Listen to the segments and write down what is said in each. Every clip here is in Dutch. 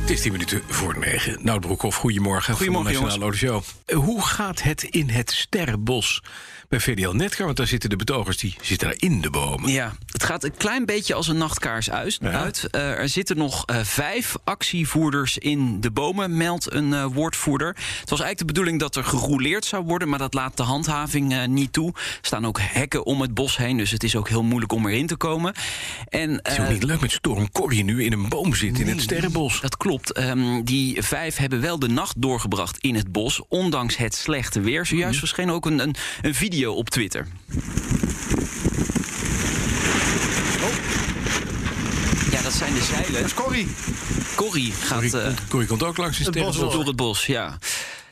Het is 10 minuten voor 9. Nou, Broekhoff, goedemorgen. Goedemorgen, Van de Nationale Autoshow. Eh, Hoe gaat het in het Sterrenbos bij VDL Netcar? Want daar zitten de betogers, die zitten daar in de bomen. Ja, het gaat een klein beetje als een nachtkaars uit. uit. Eh, er zitten nog eh, vijf actievoerders in de bomen, meldt een eh, woordvoerder. Het was eigenlijk de bedoeling dat er gerouleerd zou worden, maar dat laat de handhaving eh, niet toe. Er staan ook hekken om het bos heen, dus het is ook heel moeilijk om erin te komen. En, Het is ook eh, niet leuk met Storm Corrie nu in een boom zit in het Sterrenbos. Dat klopt. Ehm, die vijf hebben wel de nacht doorgebracht in het bos, ondanks het slechte weer. Zojuist Mhm. verscheen ook een, een, een video op Twitter. Oh. Ja, dat zijn de zeilen. Corrie. Corrie gaat Corrie, eh, komt- Corrie komt ook langs in het bos Sterrenbos. door het bos, ja.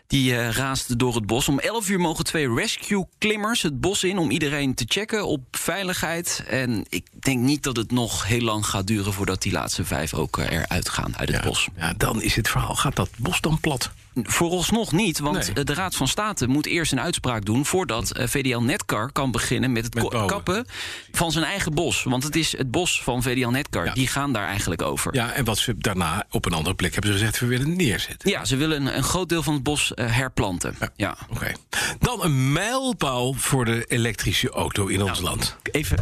Die eh, raast door het bos. Om 11 uur mogen twee rescue-klimmers het bos in om iedereen te checken op veiligheid. En ik denk niet dat het nog heel lang gaat duren voordat die laatste vijf ook eh, eruit gaan uit het bos. Ja, dan is het verhaal. Gaat dat bos dan plat? Vooralsnog niet, want Nee. eh, de Raad van State moet eerst een uitspraak doen voordat eh, VDL Netcar kan beginnen met het Met ko- bouwen. kappen van zijn eigen bos. Want het is het bos van VDL Netcar. Ja. Die gaan daar eigenlijk over. Ja, en wat ze daarna op een andere plek hebben ze gezegd, we willen het neerzetten. Ja, ze willen een, een groot deel van het bos eh, herplanten. Ja. Oké. Dan een mijlpaal voor de elektrische auto in ons land. Even.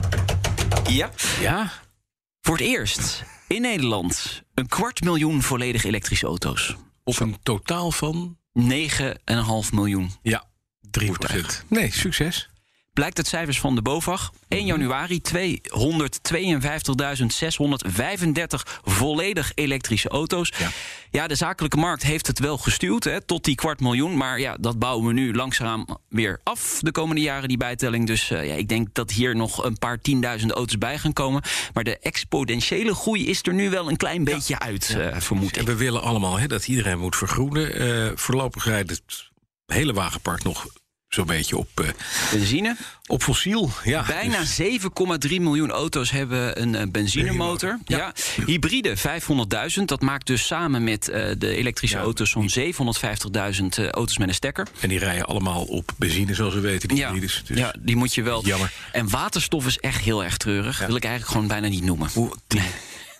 Nou, Ja. Ja? Voor het eerst in Nederland een kwart miljoen volledig elektrische auto's. Op een totaal van 9,5 miljoen. Ja, 3 Nee, succes. Blijkt uit cijfers van de BOVAG. 1 januari 252.635 volledig elektrische auto's. Ja. Ja. de zakelijke markt heeft het wel gestuurd hè, tot die kwart miljoen. Maar ja, dat bouwen we nu langzaam weer af de komende jaren, die bijtelling. Dus eh, ja, ik denk dat hier nog een paar tienduizend auto's bij gaan komen. Maar de exponentiële groei is er nu wel een klein beetje uit, eh, vermoed En ik. we willen allemaal hè, dat iedereen moet vergroenen. Eh, voorlopig rijdt het hele wagenpark nog zo'n beetje op, eh, Benzine. op fossiel. Ja, Bijna dus- 7,3 miljoen auto's hebben een eh, benzinemotor. Ja. Hybride 500.000. Dat maakt dus samen met eh, de elektrische Ja, auto's zo'n 750.000 eh, auto's met een stekker. en die rijden allemaal op benzine, zoals we weten. Die Ja. hybrides. Dus ja, die moet je wel. Jammer. En waterstof is echt heel erg treurig. Wil ik eigenlijk gewoon bijna niet noemen.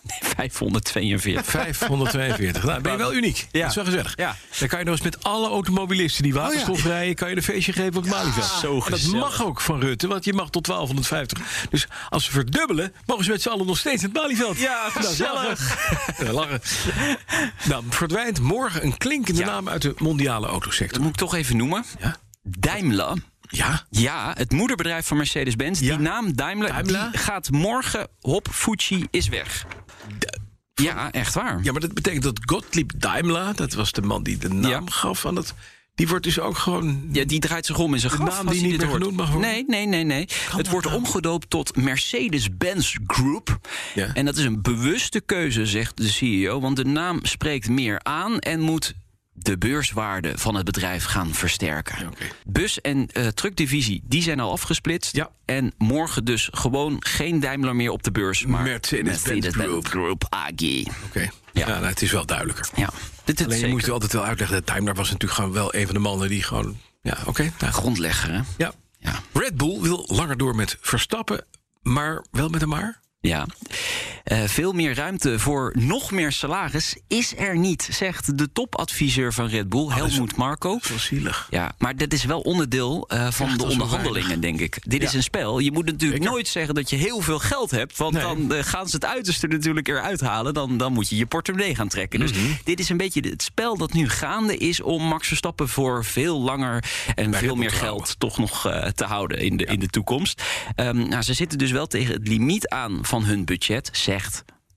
Nee, 542. 542. Nou, ben je wel uniek. Ja. Dat is wel gezellig. Ja. Oh, Dan kan je nog eens met alle automobilisten die waterstof rijden... kan je een feestje geven op Malieveld. zo En dat gezellig. mag ook van Rutte, want je mag tot 1250. Dus als ze verdubbelen, mogen ze met z'n allen nog steeds naar het Malieveld. Ja, Nou, gezellig. Ja, lachen. Nou, verdwijnt morgen een klinkende Ja. naam uit de mondiale Dat autosector. moet ik toch even noemen. Ja? Daimler. Ja? Ja, het moederbedrijf van Mercedes-Benz. Ja. Die naam Daimler, Daimler? Die gaat morgen. Hop, Fuji is weg. Ja, echt waar. Ja, maar dat betekent dat Gottlieb Daimler, dat was de man die de naam Ja. gaf aan het... Die wordt dus ook gewoon... Ja, die draait zich om in zijn De graf. naam als die hij niet dit meer hoort. genoemd mag worden? nou? Nee, nee, nee, nee. het wordt omgedoopt tot Mercedes-Benz Group. Ja. En dat is een bewuste keuze, zegt de CEO. Want de naam spreekt meer aan en moet de beurswaarde van het bedrijf gaan versterken. Ja, oké. Bus- en eh, truckdivisie, die zijn al afgesplitst. Ja. En morgen dus gewoon geen Daimler meer op de beurs. Maar Mercedes-Benz Group. Group AG. Oké, ja. Ja. nou, het is wel duidelijker. Ja, dit is Alleen je zeker. moet je altijd wel uitleggen dat Daimler was natuurlijk gewoon wel een van de mannen die gewoon... Ja, oké. nou, goed. Grondlegger, hè? ja. Ja. Red Bull wil langer door met Verstappen, maar wel met een maar. Ja. Eh, veel meer ruimte voor nog meer salaris is er niet, zegt de topadviseur van Red Bull, Helmoet Marco. Wel zielig. Ja, maar dat is wel onderdeel eh, van Ja, de dat is wel onderhandelingen, denk ik. Dit Ja. is een spel. Je moet natuurlijk Zeker. nooit zeggen dat je heel veel geld hebt. Want Nee. dan eh, gaan ze het uiterste natuurlijk eruit halen. Dan, dan moet je je portemonnee gaan trekken. Mhm. Dus dit is een beetje het spel dat nu gaande is om Max Verstappen voor veel langer en Bij Red veel Bull meer te geld houden. toch nog eh, te houden in de, in de toekomst. Ehm, nou, ze zitten dus wel tegen het limiet aan van hun budget, zegt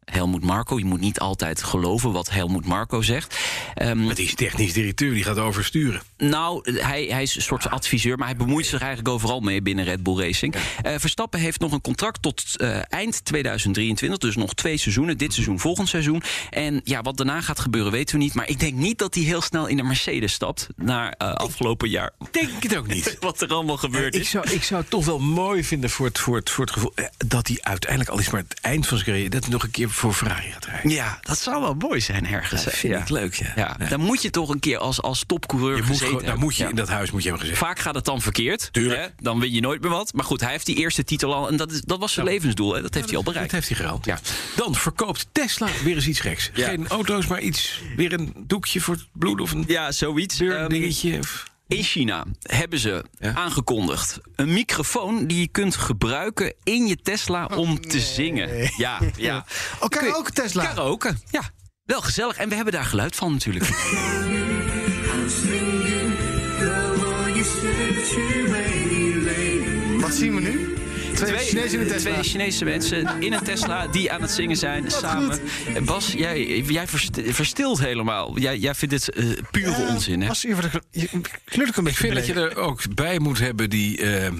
Helmoet Marco. Je moet niet altijd geloven wat Helmoet Marco zegt. Ehm, Maar die is technisch directeur, die gaat oversturen. nou, hij, hij is een soort adviseur, maar hij bemoeit zich eigenlijk overal mee binnen Red Bull Racing. Eh, Verstappen heeft nog een contract tot eh, eind 2023, dus nog twee seizoenen. Dit seizoen, volgend seizoen. En ja, wat daarna gaat gebeuren weten we niet. Maar ik denk niet dat hij heel snel in de Mercedes stapt naar eh, afgelopen jaar. Eh, Denk het ook niet. Wat er allemaal gebeurd Ik is. zou, ik zou het toch wel mooi vinden voor het, voor het, voor het gevoel... eh, dat hij uiteindelijk al is maar het eind van zijn carrière... dat hij nog een keer voor Ferrari gaat rijden. Ja, dat zou wel mooi zijn ergens. Dat hè? vind Ja. ik leuk, ja. Ja, Ja. dan moet je toch een keer als, als topcoureur Je moet gezeten gewoon, daar hebben. moet je, Ja. In dat huis moet je hebben gezegd. Vaak gaat het dan verkeerd. Tuurlijk. Hè? Dan win je nooit meer wat. Maar goed, hij heeft die eerste titel al. En dat, is, dat was zijn levensdoel. Hè? Dat heeft hij al Dat bereikt. heeft hij gehaald. Ja. Dan verkoopt Tesla weer eens iets geks. Ja. Geen auto's, maar iets. Weer een doekje voor het bloed of een Ja, zoiets. Ehm, deurdingetje. of- in China hebben ze Ja. aangekondigd een microfoon die je kunt gebruiken in je Tesla om te zingen. Ja, ja. Oh, karaoke Tesla. Karaoke. Ja, wel gezellig. En we hebben daar geluid van natuurlijk. Wat zien we nu? Twee, Chinezen in de Tesla. twee Chinese mensen in een Tesla die aan het zingen zijn samen. Eh, Bas, jij, jij verst- verstilt helemaal. Jij, jij vindt dit eh, pure onzin, hè? Was hier voor de gl- je- Natuurlijk Ik een beetje vind dat je beleefd. er ook bij moet hebben die, ehm,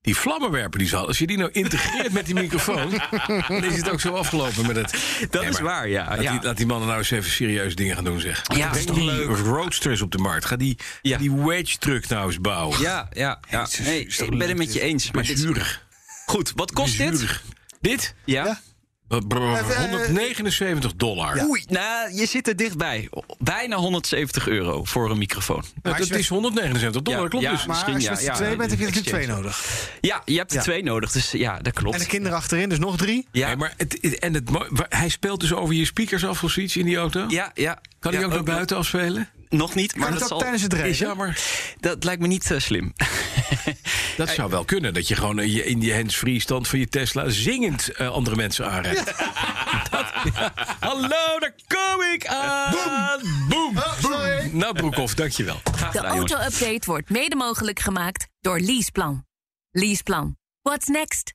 die vlammenwerper die ze hadden. Als je die nou integreert met die microfoon, dan is het ook zo afgelopen met het. Dat Nee, is maar waar, ja. Laat, ja. Die, laat die mannen nou eens even serieus dingen gaan doen, zeg. Ja, Breng is toch die leuk? roadsters op de markt. Ga die, Ja. die wedge-truck nou eens bouwen. Ja, ja, ja. Jezus, Nee, is dat ik ben het leuk, met je dit. eens. Maar dit, Bezurig. goed, wat kost dit? Bezurig. Dit? Ja. Wat, brr, Even, eh, 179 dollar. Oei, nou, je zit er dichtbij. Bijna 170 euro voor een microfoon. Nou, dat als je- is 179 dollar, Ja, klopt ja. dus. Maar misschien, als je ja, met z'n ja, twee bent, heb je die natuurlijk twee exchange. nodig. Ja, je hebt er Ja. twee nodig, dus ja, dat klopt. En de kinderen achterin, dus nog drie. ja. Nee, maar het, het- en het, mo- wa- hij speelt dus over je speakers af of zoiets in die auto? ja, ja. Kan hij Ja, eh, ook naar buiten afspelen? Nog niet, maar Kan dat, het ook zal, tijdens het Is rijden? jammer. dat lijkt me niet eh, slim. Dat zou wel kunnen. Dat je gewoon in je, in je hands-free stand van je Tesla zingend eh, andere mensen aanrijdt. Dat- ja. Hallo, daar kom ik aan. Boom. Boom. sorry. Nou, Broekhoff, dankjewel. Graag De gedaan, jongens. auto-update wordt mede mogelijk gemaakt door Leaseplan. Leaseplan. What's next?